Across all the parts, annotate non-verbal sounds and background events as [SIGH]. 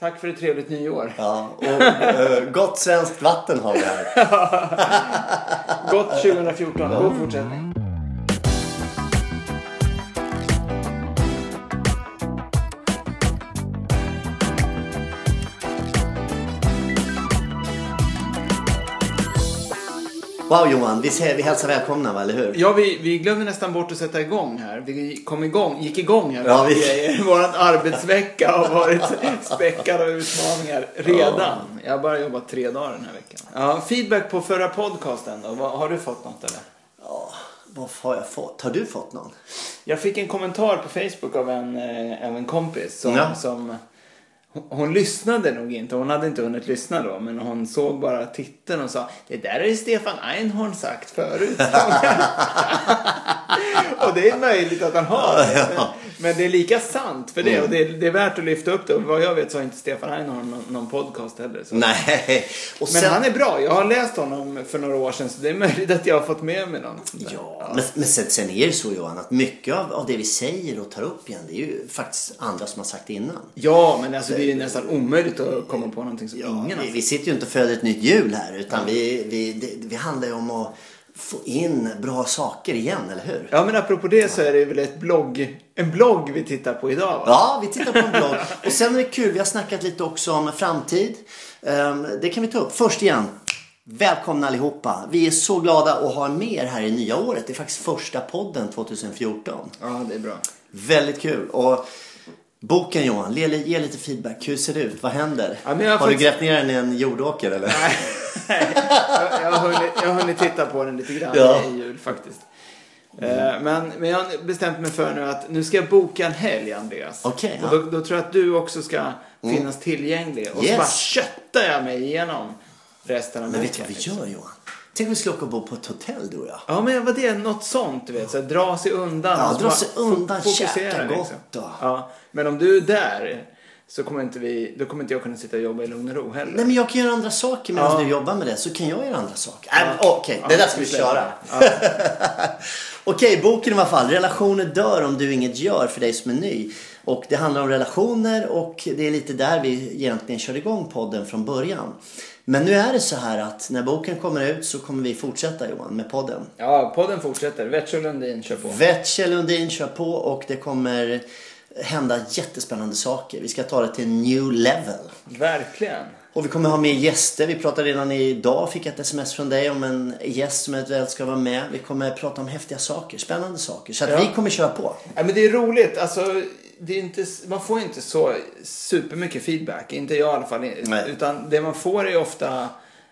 Tack för ett trevligt nyår. Ja, och eh, gott svenskt vatten har vi här. Gott 2014. Mm. God fortsättning. Wow Johan, vi, ser, vi hälsar välkomna va, eller hur? Ja, vi, vi glömde nästan bort att sätta igång här. Vi kom igång, gick igång här. Ja, vi- vi... Vår arbetsvecka har varit späckad av utmaningar redan. Jag har bara jobbat tre dagar den här veckan. Ja, feedback på förra podcasten då? Vad- Har du fått något eller? Ja, vad har jag fått? Har du fått någon? Jag fick en kommentar på Facebook av en, eh, av en kompis som, Ja. som hon, hon lyssnade nog inte, hon hade inte hunnit lyssna då, men hon såg bara titeln och sa det där har ju Stefan Einhorn sagt förut. [LAUGHS] och det är möjligt att han har det. Men, men det är lika sant för Mm. det och det är, det är värt att lyfta upp det. Och vad jag vet så har inte Stefan Einhorn någon, någon podcast heller. Så. Nej. Och Men Mm. sen- han är bra, jag har läst honom för några år sedan så det är möjligt att jag har fått med mig någon. sån där. Ja, men, men sen, sen är det så Johan att mycket av, av det vi säger och tar upp igen det är ju faktiskt andra som har sagt det innan. Ja, men alltså det är ju nästan omöjligt att komma på någonting som ingen har vi, sagt. vi sitter ju inte och föder ett nytt hjul här utan vi, vi, det, vi handlar ju om att få in bra saker igen, eller hur? Ja, men apropå det så är det väl ett blogg, en blogg vi tittar på idag va? Ja, vi tittar på en blogg. Och sen är det kul, vi har snackat lite också om framtid. Ehm, Det kan vi ta upp. Först igen, välkomna allihopa. Vi är så glada att ha med er här i nya året. Det är faktiskt första podden 2014. Ja, det är bra. Väldigt kul. Och boken Johan, ge, ge lite feedback. Hur ser det ut? Vad händer? Ja, men jag har har faktiskt- du grävt ner den i en jordåker eller? Jag, jag, har hunnit, jag har hunnit titta på den lite grann Ja. i jul faktiskt. Eh, Men, men jag har bestämt mig för nu att nu ska jag boka en helg, Andreas. Okej, och ja. Mm. då, då tror jag att du också ska finnas tillgänglig. Och så Yes. bara köttar jag mig igenom resten av Men vet du veckan. vad vi liksom. gör Johan? Tänk om vi skulle åka och bo på ett hotell du och jag. Ja, men vad det är, något sånt du vet. Så här, dra sig undan. Ja, och så dra bara sig fo- undan, fokusera, liksom. käka gott och- Ja, men om du är där så kommer inte vi, då kommer inte jag kunna sitta och jobba i lugn och ro heller. Nej men jag kan göra andra saker medan Ja. du jobbar med det så kan jag göra andra saker. Nej, men Okej, det där ska vi släpper. köra. Okej, boken i alla fall. Relationer dör om du inget gör för dig som är ny. Och det handlar om relationer och det är lite där vi egentligen körde igång podden från början. Men nu är det så här att när boken kommer ut så kommer vi fortsätta Johan med podden. Ja, podden fortsätter. Vetch och Lundin kör på. Vetche Lundin kör på och det kommer hända jättespännande saker. Vi ska ta det till en new level. Verkligen. Och vi kommer ha med gäster. Vi pratade redan idag, fick jag ett sms från dig om en gäst som eventuellt ska vara med. Vi kommer prata om häftiga saker, spännande saker. Så att Ja. vi kommer köra på. Ja, men det är roligt. Alltså, det är inte, man får ju inte så supermycket feedback. Inte jag i alla fall. Nej. Utan det man får är ju ofta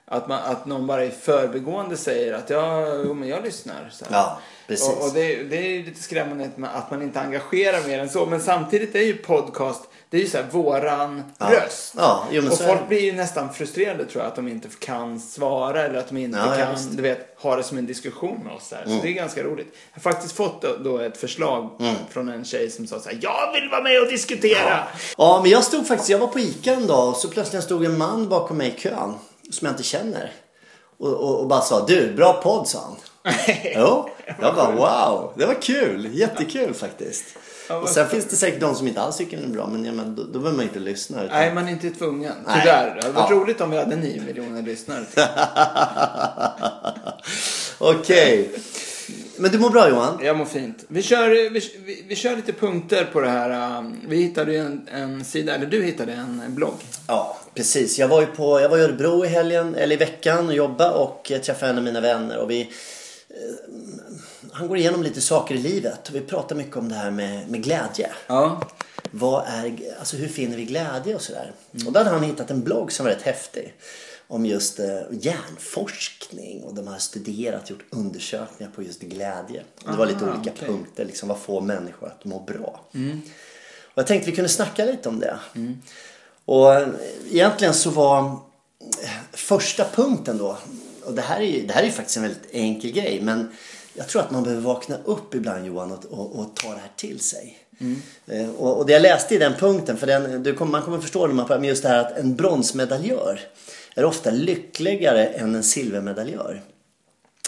att, man, att någon bara i förbigående säger att ja, jo, men jag lyssnar. Så här. Ja, precis. Och, och det, är- det är ju lite skrämmande att man, att man inte engagerar mer än så. Men samtidigt är ju podcast, det är ju så här våran Ja. röst. Ja, jo, men och så är det. folk blir ju nästan frustrerade tror jag att de inte kan svara eller att de inte Ja, ja, kan visst. Mm. du vet, ha det som en diskussion med oss. Där. Så det är ganska roligt. Jag har faktiskt fått då- då ett förslag från en tjej som sa så här, jag vill vara med och diskutera. Ja, men jag stod faktiskt, jag var på ICA en dag och så plötsligt stod en man bakom mig i kön som jag inte känner. Och, och, och bara sa, du, bra podd sa [LAUGHS] han. jo, jag bara wow, det var kul, jättekul faktiskt. Och sen finns det säkert de som inte alls tycker den är bra, men jag menar, då, då behöver man inte lyssna. Utan... Nej, man är inte tvungen. Nej. Tyvärr. Det hade varit Ja. roligt om vi hade 9 miljoner lyssnare. Okej. Men du mår bra Johan? Jag mår fint. Vi kör, vi, vi, vi kör lite punkter på det här. um, Vi hittade ju en, en sida, eller du hittade en blogg. Ja, precis. Jag var ju på, jag var i Örebro i helgen, eller i veckan och jobbade och eh, träffade en av mina vänner och vi... Eh, han går igenom lite saker i livet och vi pratar mycket om det här med, med glädje. Ja. Vad är, alltså hur finner vi glädje och sådär. Och då hade han hittat en blogg som var rätt häftig. Om just eh, hjärnforskning och de har studerat, gjort undersökningar på just glädje. Och det var lite Aha, olika okej. punkter, liksom vad får människor att må bra. Och jag tänkte vi kunde snacka lite om det. Och eh, egentligen så var eh, första punkten då, och det här är ju, det här är ju faktiskt en väldigt enkel grej, men jag tror att man behöver vakna upp ibland Johan och, och, och ta det här till sig. Eh, Och, och det jag läste i den punkten, för den, du kommer, man kommer förstå när man pratar, men just det här att en bronsmedaljör är ofta lyckligare än en silvermedaljör.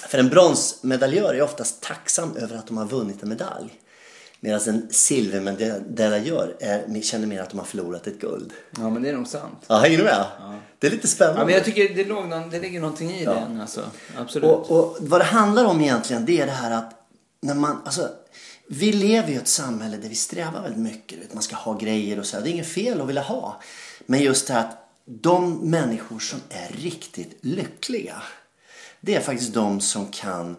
För en bronsmedaljör är oftast tacksam över att de har vunnit en medalj. Medan en silvermedaljör är- känner mer att de har förlorat ett guld. Ja, men det är nog sant. Ja, hänger du med? Det är lite spännande. Ja, men jag tycker det, låg någon, det ligger någonting i den. Alltså. Absolut. Och, och vad det handlar om egentligen det är det här att när man, alltså, vi lever ju i ett samhälle där vi strävar väldigt mycket. du Vet, man ska ha grejer och så. här. Det är inget fel att vilja ha. Men just det här att de människor som är riktigt lyckliga. Det är faktiskt de som kan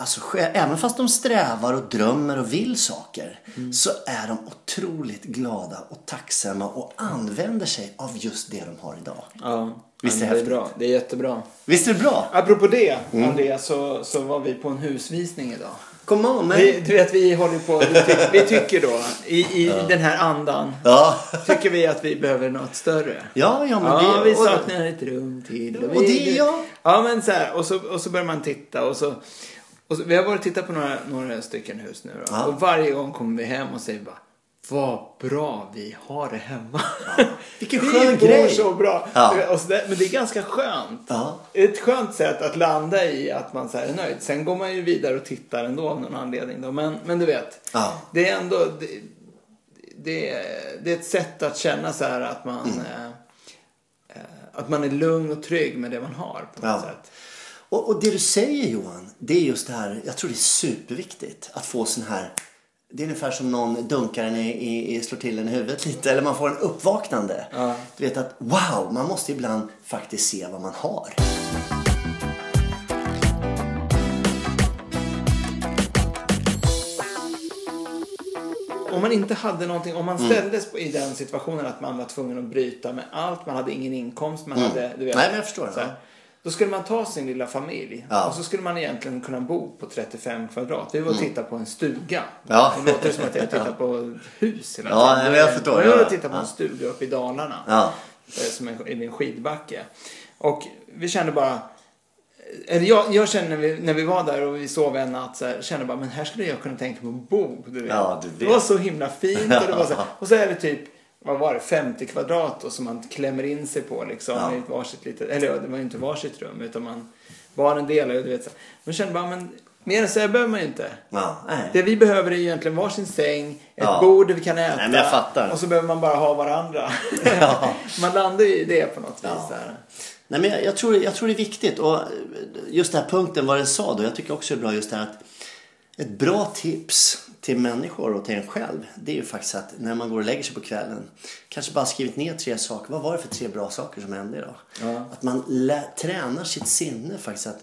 Alltså, skä- även fast de strävar och drömmer och vill saker så är de otroligt glada och tacksamma och använder sig av just det de har idag. ja. Visst är ja, det men det är bra. Det är jättebra. Visst är det bra? Apropå det, Mm. Andreas, så, så var vi på en husvisning idag. Come on, man. Vi, du vet, vi håller på, vi, ty- vi tycker då, i, i den här andan, Ja. tycker vi att vi behöver något större. Ja, ja, men Ja, det, vi saknar ett rum till. Och det, ja. Ja, men så här, och så, och så börjar man titta och så, och så, vi har varit och tittat på några, några stycken hus nu då. Ja. Och varje gång kommer vi hem och säger bara, vad bra vi har det hemma. Vilken [LAUGHS] Det skön går grej. så bra. Ja. Du vet, Och så där, men det är ganska skönt. Ja. Ett skönt sätt att landa i att man så här är nöjd. Sen går man ju vidare och tittar ändå av någon anledning. Då. Men, men du vet, Ja. det är ändå det, det, är- det är ett sätt att känna så här att man, Mm. eh, eh, att man är lugn och trygg med det man har. på något Ja. sätt. Och, och det du säger Johan, det är just det här, jag tror det är superviktigt att få sån här, det är ungefär som någon dunkar en i, i, i slår till en i huvudet lite, eller man får en uppvaknande. Ja. Du vet att wow, man måste ibland faktiskt se vad man har. Om man inte hade någonting, om Mm. man ställdes på, i den situationen att man var tvungen att bryta med allt, man hade ingen inkomst, man hade, du vet. Mm. Nej, men jag förstår. Så här. Då skulle man ta sin lilla familj Ja. Mm. och så skulle man egentligen kunna bo på 35 kvadrat. Vi var och tittade på en stuga. [LAUGHS] Ja. Det låter som att jag tittar på ett hus hela Ja, nej, men jag förstår. Jag var Ja. och tittade på en Ja. stuga uppe i Dalarna. Ja. eh, Som en, i en skidbacke. Och vi kände bara eh, eller jag, jag kände när vi, när vi var där och vi sov en natt så här, kände bara men här skulle jag kunna tänka mig att bo. Du vet. Ja, du vet. Det var så himla fint. Och, det var så här, och så är det typ vad var det, 50 kvadrat och som man klämmer in sig på liksom. Ja. I ett varsitt litet, eller ja, det var ju inte varsitt rum utan man, barnen delar ju. du vet, så här. Men jag kände bara men mer än så här behöver man ju inte. Ja, nej. Det vi behöver är ju egentligen varsin säng, ett Ja. bord där vi kan äta. Nej, men jag fattar. Och så behöver man bara ha varandra. Ja. [LAUGHS] man landar ju i det på något vis. Ja. så här. Nej, men jag, jag, tror, jag tror det är viktigt. Och just den här punkten, vad den sa då. Jag tycker också det är bra just det här att ett bra tips till människor och till en själv. Det är ju faktiskt att när man går och lägger sig på kvällen. Kanske bara skrivit ner tre saker. Vad var det för tre bra saker som hände idag? Att man lä- tränar sitt sinne faktiskt att,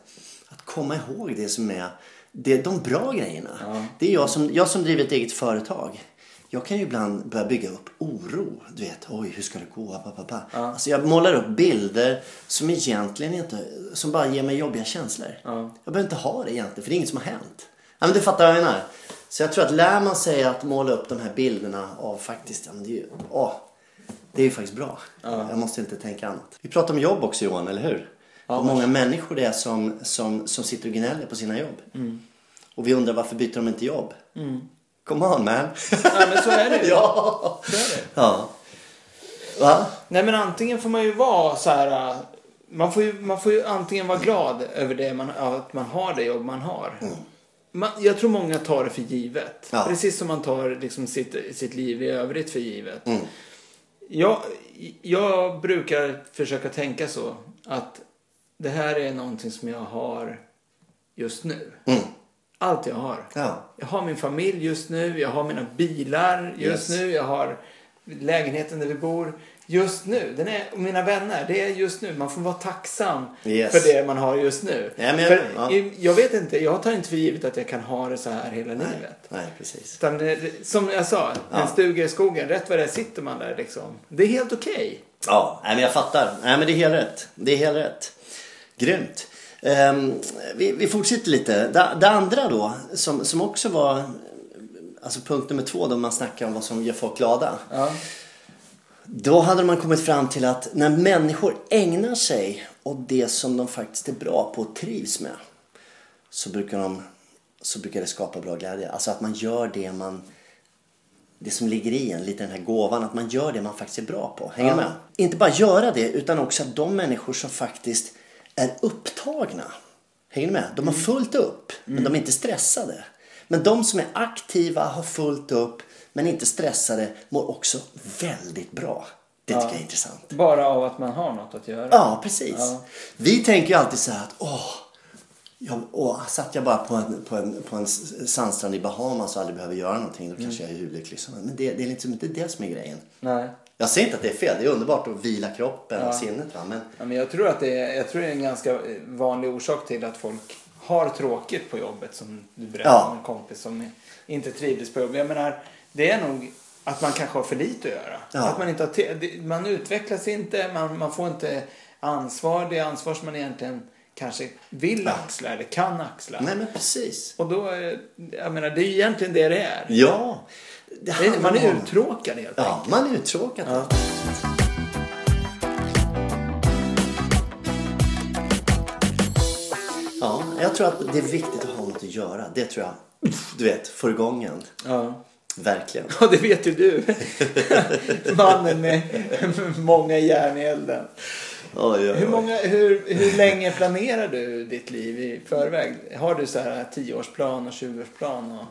att komma ihåg det som är det, är de bra grejerna. Det är jag som, jag som driver ett eget företag. Jag kan ju ibland börja bygga upp oro. Du vet, oj hur ska det gå? Pa, pa, pa. Alltså jag målar upp bilder som egentligen inte, som bara ger mig jobbiga känslor. Jag behöver inte ha det egentligen för det är inget som har hänt. Ja, men du fattar vad jag menar. Så jag tror att lär man sig att måla upp de här bilderna av faktiskt, ja, men det är ju, åh, det är ju faktiskt bra. Jag måste inte tänka annat. Vi pratar om jobb också Johan, eller hur? Hur många människor det är som, som, som sitter och gnäller på sina jobb. Mm. Och vi undrar varför byter de inte jobb? Come on man! Nej, Mm. men så är det ju. [LAUGHS] Ja. Så är det. ja. Va? Nej men antingen får man ju vara så här. äh, Man får ju, man får ju antingen vara glad över det man, att man har det jobb man har. Man, jag tror många tar det för givet. Ja. Precis som man tar liksom sitt, sitt liv i övrigt för givet. Jag, jag brukar försöka tänka så. Att det här är någonting som jag har just nu. Allt jag har. Ja. Jag har min familj just nu, jag har mina bilar just Yes. nu, jag har lägenheten där vi bor just nu. Den är, och mina vänner, det är just nu. Man får vara tacksam Yes. för det man har just nu. Nej, men jag- för, ja. i- jag vet inte, jag tar inte för givet att jag kan ha det så här hela livet. Nej, precis. Utan det, det- som jag sa, en stuga i skogen, rätt vad det är sitter man där liksom. Det är helt okej. Ja, nej, men jag fattar. Nej, men det är helt rätt. Det är helt rätt. Grymt. Ehm, vi, vi fortsätter lite. Det, det andra då, som, som också var alltså punkt nummer två då man snackar om vad som gör folk glada. Ja. Då hade man kommit fram till att när människor ägnar sig åt det som de faktiskt är bra på och trivs med så brukar, de, så brukar det skapa bra glädje. Alltså att man gör det man det som ligger i en, lite den här gåvan, att man gör det man faktiskt är bra på. Hänger du med? Inte bara göra det, utan också att de människor som faktiskt är upptagna. Hänger du med? De har fullt upp, men de är inte stressade. Men de som är aktiva, har fullt upp, men inte stressade, mår också väldigt bra. Det tycker jag är intressant. Bara av att man har något att göra. Ja, precis. Ja. Vi tänker ju alltid så här att åh, jag, åh, satt jag bara på en, på en, på en s- sandstrand i Bahamas och aldrig behöver göra någonting, då kanske Mm. jag är huvudlycklig. Så, Men det, det är liksom inte det som är grejen. Nej. Jag säger inte att det är fel, det är underbart att vila kroppen och sinnet. Va? Men Ja, men jag tror att det är, jag tror det är en ganska eh, vanlig orsak till att folk har tråkigt på jobbet som du berättade Ja. om en kompis som inte trivdes på jobbet. Jag menar, det är nog att man kanske har för lite att göra. Ja. Att man, inte har te- det- man utvecklas inte, man, man får inte ansvar, det ansvar som man egentligen kanske vill axla eller kan axla. nej, men precis. Och då, är- jag menar, det är ju egentligen det det är. Ja, det Det är- handlar Man är om- uttråkad helt enkelt. Ja, man är uttråkad. va? Ja, jag tror att det är viktigt att ha något att göra. Det tror jag, du vet, får igång en. Ja. Verkligen. [LAUGHS] Ja, det vet ju du. Mannen med många järn i elden. Oj, oj, Hur, oj. många, hur, hur länge planerar du ditt liv i förväg? Har du så här 10-årsplan och 20-årsplan? Och...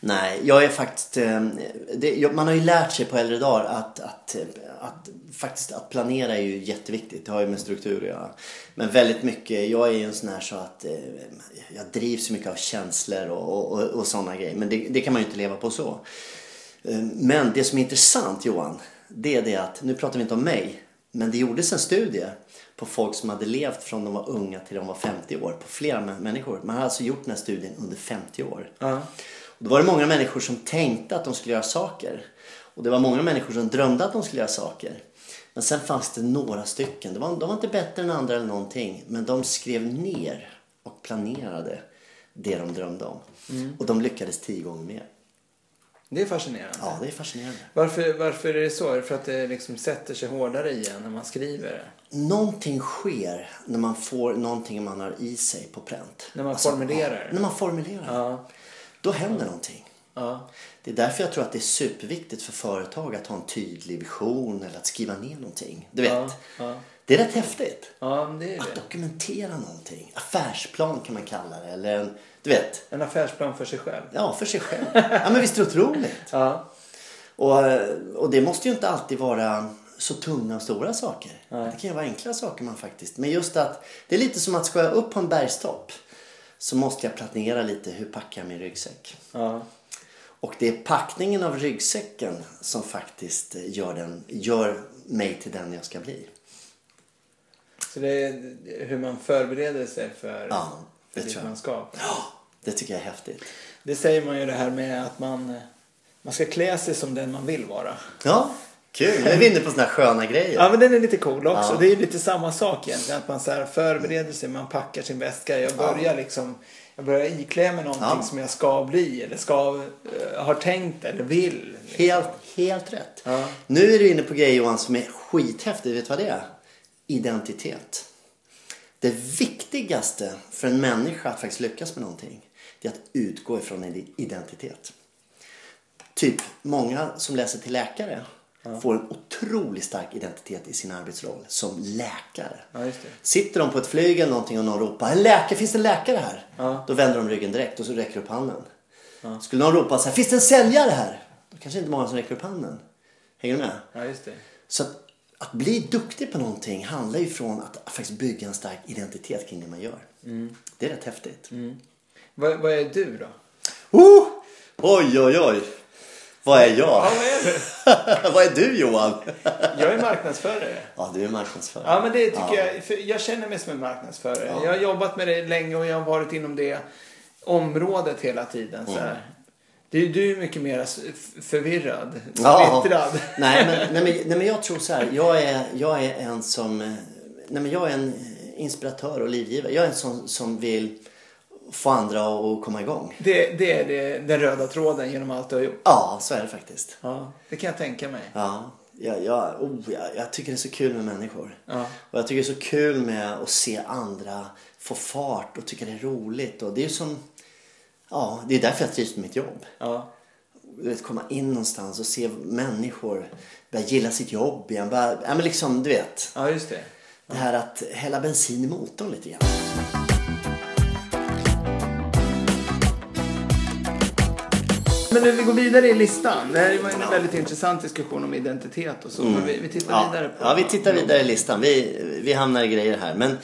Nej, jag är faktiskt... eh, Det, jag- man har ju lärt sig på äldre dagar att, att, eh, att, faktiskt, att planera är ju jätteviktigt. Det har ju med struktur att göra. Men väldigt mycket, jag är ju en sån här så att eh, jag drivs mycket av känslor och, och, och sådana grejer. Men det, det kan man ju inte leva på så. Eh, Men det som är intressant Johan, det är det att, nu pratar vi inte om mig, men det gjordes en studie på folk som hade levt från de var unga till de var 50 år, på flera mä- människor. Man hade alltså gjort den här studien under 50 år. Och då var det många människor som tänkte att de skulle göra saker. Och det var många människor som drömde att de skulle göra saker. Men sen fanns det några stycken, de var, de var inte bättre än andra eller någonting, men de skrev ner och planerade det de drömde om. Och de lyckades tio gånger mer. Det är fascinerande. Ja, det är fascinerande. Varför, varför är det så? Är det för att det liksom sätter sig hårdare i en när man skriver det? Någonting sker när man får någonting man har i sig på pränt. Alltså, När man formulerar. Ja, när man formulerar. Ja. Då händer någonting. Ja. Det är därför jag tror att det är superviktigt för företag att ha en tydlig vision eller att skriva ner någonting. Du vet. Ja, ja. Det är rätt häftigt. ja, men det är Att det. dokumentera någonting. Affärsplan kan man kalla det. Eller en, du vet. En affärsplan för sig själv. Ja, för sig själv. ja, men visst är det otroligt? Ja. Och, och det måste ju inte alltid vara så tunga och stora saker. Det kan ju vara enkla saker man faktiskt. Men just att det är lite som att ska jag upp på en bergstopp så måste jag planera lite hur packar jag min ryggsäck. Ja. Och det är packningen av ryggsäcken som faktiskt gör, den, gör mig till den jag ska bli. Så det är hur man förbereder sig för, Ja, det för ditt tror jag. manskap. Det tycker jag är häftigt. Det säger man ju det här med att man, eh, man ska klä sig som den man vill vara. Ja, kul. Nu är vi inne på såna här sköna grejer. Ja men den är lite cool också. Ja. Det är ju lite samma sak egentligen. Att man så här förbereder sig, man packar sin väska. Jag börjar liksom, jag börjar iklä mig någonting Ja. som jag ska bli eller ska, eh, har tänkt eller vill. Helt, helt rätt. Ja. Nu är du inne på grejer Johan som är skithäftigt. Vet du vad det är? Identitet. Det viktigaste för en människa att faktiskt lyckas med någonting det är att utgå ifrån en identitet. Typ många som läser till läkare får en otroligt stark identitet i sin arbetsroll som läkare. Ja, just det. Sitter de på ett flyg eller någonting och någon ropar en läkare, finns det en läkare här? Ja. Då vänder de ryggen direkt och så räcker upp handen. Skulle någon ropa så här, finns det en säljare här? Då kanske inte många som räcker upp handen. Hänger du med? Ja just det. Så att, att bli duktig på någonting handlar ju från att faktiskt bygga en stark identitet kring det man gör. Mm. Det är rätt häftigt. Vad, vad är du då? Oh! Oj, oj, oj. Vad är jag? vad är du? [LAUGHS] Vad är du Johan? Jag är marknadsförare. ja, du är marknadsförare. Ja men det tycker Ja. jag. För jag känner mig som en marknadsförare. Ja. Jag har jobbat med det länge och jag har varit inom det området hela tiden. Så Mm. här. Du, du är mycket mer s- f- förvirrad, splittrad. [LAUGHS] nej, men, nej, men, nej men jag tror så här. Jag är, jag är en som... eh, Nej men jag är en inspiratör och livgivare. Jag är en som, som vill få andra att komma igång. Det, det är det, den röda tråden genom allt du har gjort. Ja, så är det faktiskt. Ja, det kan jag tänka mig. Ja, jag, jag, oh, jag, jag tycker det är så kul med människor. Ja. Och jag tycker det är så kul med att se andra få fart och tycka det är roligt. Och det är ju som... Ja, det är därför jag trivs med mitt jobb. Ja. du vet, komma in någonstans och se människor börja gilla sitt jobb igen. Börja, ja, men liksom, du vet, ja, just det. det här att hälla bensin i motorn lite grann. Men nu, vi går vidare i listan. Det här var en väldigt intressant diskussion om identitet och så. Men vi, vi tittar Mm. Ja, vidare på ja, vi tittar vidare i listan. Vi, vi hamnar i grejer här. Men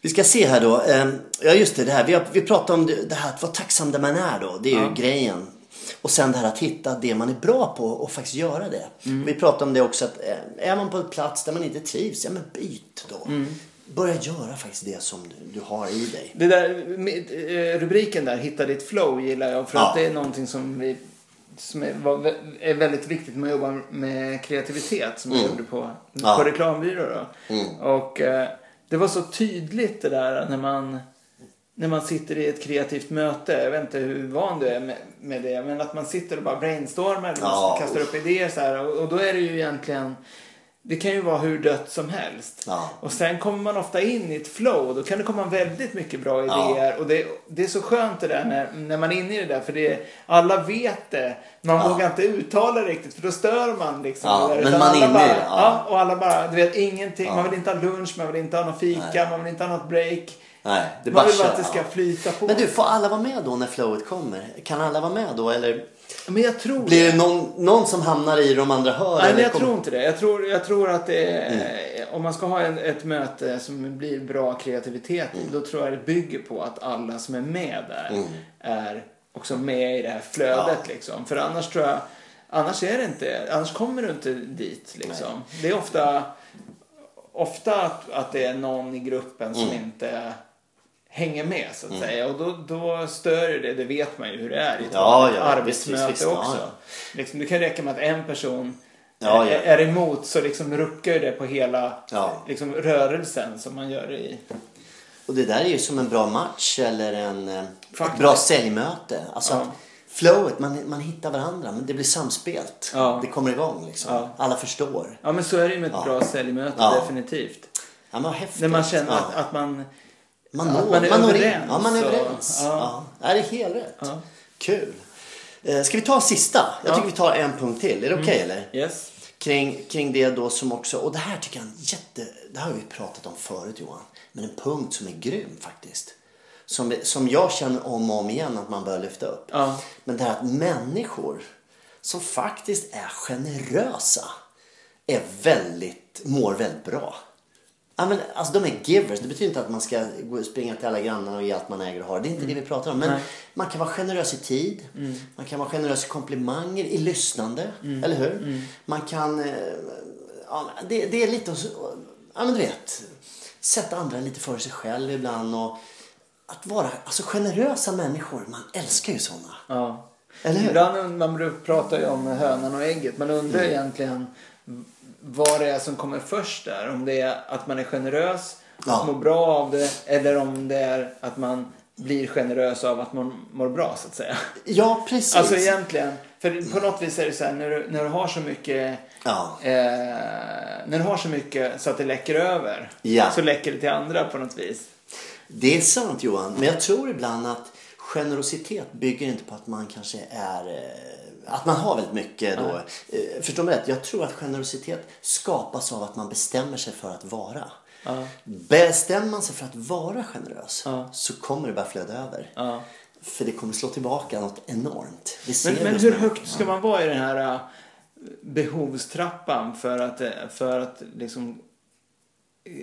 vi ska se här då. Eh, Ja, just det. det här. Vi, har, vi pratade om det det här att vara tacksam där man är då. Det är ju grejen. Och sen det här att hitta det man är bra på och faktiskt göra det. Mm. Vi pratade om det också att eh, är man på en plats där man inte trivs, ja men byt då. Mm. Börja göra faktiskt det som du- du har i dig. Det där, med, eh, rubriken där, Hitta ditt flow, gillar jag. För Ja. att det är någonting som, vi, som är, var, vä- är väldigt viktigt med att jobba med kreativitet. Som jag gjorde på, Mm. Ja. Mm. på reklambyrå då. Och eh, det var så tydligt det där när man, när man sitter i ett kreativt möte. Jag vet inte hur van du är med, med det. Men att man sitter och bara brainstormar. eller Ja. Kastar upp idéer så här. Och, och då är det ju egentligen det kan ju vara hur dött som helst. Ja. Och sen kommer man ofta in i ett flow och då kan det komma väldigt mycket bra idéer. Och det, det är så skönt det där när, när man är inne i det där för det, alla vet det. Man Ja. vågar inte uttala det riktigt för då stör man liksom. Ja, det där. men Utan man alla är inne i bara, det, ja. Och alla bara, du vet ingenting. Man vill inte ha lunch, man vill inte ha någon fika, man vill inte ha något break. Nej, det man vill bara bara att det kör, ska ja. flyta på. Men du, får alla vara med då när flowet kommer? Kan alla vara med då eller Men jag tror blir det någon, någon som hamnar i de andra hör? Nej, eller men jag kommer- tror inte det. Jag tror, jag tror att det är, om man ska ha en, ett möte som blir bra kreativitet Mm. i, då tror jag det bygger på att alla som är med där är också med i det här flödet. Liksom. För annars tror jag, annars är det inte, annars kommer du inte dit. Liksom. Det är ofta, ofta att, att det är någon i gruppen som Mm. inte hänger med så att säga. Och då, då stör ju det, det vet man ju hur det är i ett Ja, vanligt ja, arbetsmöte visst, visst, visst. också. Ja, ja. Liksom, det kan räcka med att en person Ja, ja. är- är emot så liksom ruckar ju det på hela Ja. liksom, rörelsen som man gör i. Och det där är ju som en bra match eller en, eh, ett Faktiskt. bra säljmöte. Alltså Ja. att flowet, man, man hittar varandra men det blir samspelt. Ja. Det kommer igång liksom. Ja. Alla förstår. Ja men så är det ju med ett bra säljmöte Ja. definitivt. Ja, men vad häftigt. När man känner ja. att, att man man, att når, man är når in. överens Ja, man är och- överens. ja. Ja. Ja. Det är helt rätt. Ja. Kul. Eh, Ska vi ta sista? Jag Ja. Mm. tycker vi tar en punkt till. Är det okej eller? Yes. kring, kring det då som också, och det här tycker jag är en jätte, det här har vi pratat om förut Johan, men en punkt som är grym faktiskt. Som, som jag känner om och om igen att man bör lyfta upp. Ja. Men det här att människor som faktiskt är generösa är väldigt, mår väldigt bra. Ja, men, alltså, de är givers. Det betyder inte att man ska gå- springa till alla grannarna och ge allt man äger och har. Det är inte det vi pratar om. Men man kan vara generös i tid. Man kan vara generös i komplimanger, i lyssnande. Eller hur? Man kan... eh, Ja, det, det är lite... att- Ja, men du vet. Sätta andra lite före sig själv ibland. Och att vara... Alltså generösa människor. Man älskar ju sådana. Ja. Eller hur? Ibland und- man brukar- pratar ju om hönan och ägget. Man undrar Mm. egentligen vad det är som kommer först där. Om det är att man är generös Ja. och mår bra av det. Eller om det är att man blir generös av att man mår bra så att säga. Ja, precis. Alltså egentligen. För på något vis är det så här när du, när du har så mycket Ja. eh, när du har så mycket så att det läcker över. Ja. Så läcker det till andra på något vis. Det är sant Johan, men jag tror ibland att generositet bygger inte på att man kanske är eh, att man har väldigt mycket då. Eh, Förstår mig rätt? Jag tror att generositet skapas av att man bestämmer sig för att vara. Bestämmer man sig för att vara generös Ja. så kommer det bara flöda över. Ja. För det kommer slå tillbaka något enormt. Det ser Men, vi men hos hur människor. högt ska man vara i den här eh, behovstrappan för att, eh, för att liksom... eh,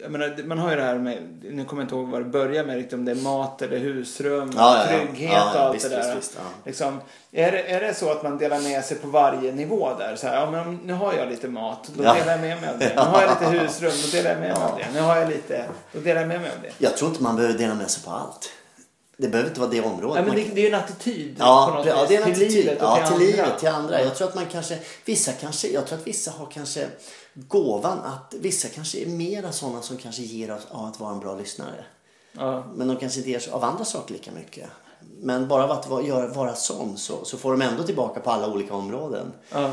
Jag menar, man har ju det här med, nu kommer jag inte ihåg vad det börjar med riktigt, om det är mat eller husrum, Ja, ja, ja. trygghet Ja, och ja, allt visst, det där. visst, visst, ja. liksom, är, det, är det så att man delar med sig på varje nivå där? Så här, ja, men om- nu har jag lite mat, då Ja. delar jag med mig av det. Nu har jag [LAUGHS] lite husrum, då delar jag med mig av det. Nu har jag lite, då delar jag med mig av det. Jag tror inte man behöver dela med sig på allt. Det behöver inte vara det området. Ja, men Man det, det är ju en attityd på Ja, något ja, det är en vis, attityd. till livet och ja, till till andra. livet, till andra. Jag tror att man kanske, vissa kanske, jag tror att vissa har kanske gåvan att, vissa kanske är mera sådana som kanske ger oss av att vara en bra lyssnare. Ja. Men de kanske inte ger sig av andra saker lika mycket. Men bara av att vara, göra- vara sån så, så får de ändå tillbaka på alla olika områden. Ja.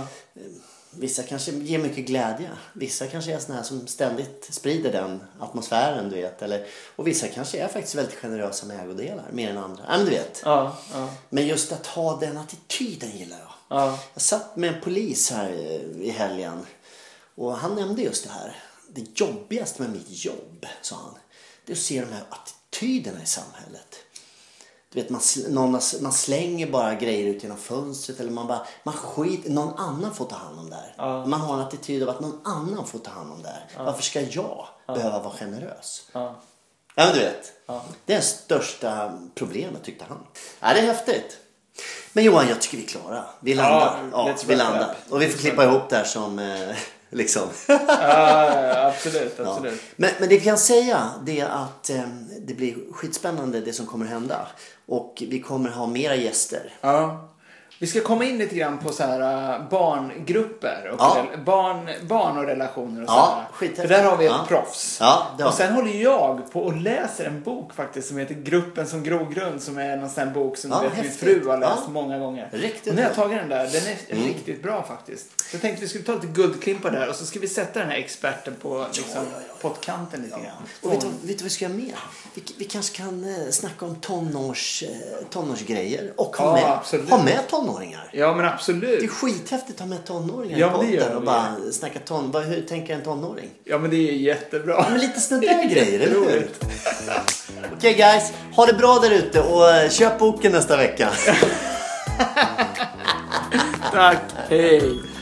Vissa kanske ger mycket glädje. Vissa kanske är såna här som ständigt sprider den atmosfären, du vet. Eller, och vissa kanske är faktiskt väldigt generösa med ägodelar, mer än andra. Ja, men du vet. Ja, ja, Men just att ha den attityden gillar jag. ja. Jag satt med en polis här eh, i helgen och han nämnde just det här. Det jobbigaste med mitt jobb, sa han, det är att se de här attityderna i samhället. Du vet, man, sl- någon, har s- man slänger bara grejer ut genom fönstret eller man bara, man skit, någon annan får ta hand om det här. Ja. Man har en attityd av att någon annan får ta hand om det här. Varför ska jag behöva vara generös? Ja. Ja, men du vet. Det är det största problemet tyckte han. Ja, det är häftigt. Men Johan, jag tycker vi är klara. Vi landar. Ja, let's vi wrap it landar. up. Och vi får klippa ihop det här som eh, [LAUGHS] liksom. Ja, ja, absolut, Ja. absolut. Men, men det vi kan säga det är att eh, det blir skitspännande det som kommer hända. Och vi kommer ha mera gäster. Ja. Vi ska komma in lite grann på så här äh, barngrupper och Ja. rel- barn, barn och relationer och så Ja, här. skithäftigt. För där har vi ett Ja. proffs. Ja, det har och sen håller jag på och läser en bok faktiskt som heter Gruppen som grogrund som är någon sån här bok som Ja, vet, min häftigt. fru har läst Ja. många gånger. Riktigt och nu har jag bra. Mm. tagit den där. Den är riktigt bra faktiskt. Så jag tänkte vi skulle ta lite guldklimpar där och så ska vi sätta den här experten på liksom, pottkanten lite grann. Och vet du, vet du vad vi ska göra mer? Vi, vi kanske kan eh, snacka om tonårs, eh, tonårsgrejer och ha, Ja, med, absolut. ha med tonåringar. Ja men Det är absolut. skithäftigt att ta med tonåringar Ja, i men det podden gör vi. och bara snacka ton... Vad, hur tänker en tonåring? Ja men det är jättebra. Ja, men lite sådana där grejer, eller hur? Roligt. Okej guys, ha det bra där ute och eh, köp boken nästa vecka. Tack. Hej.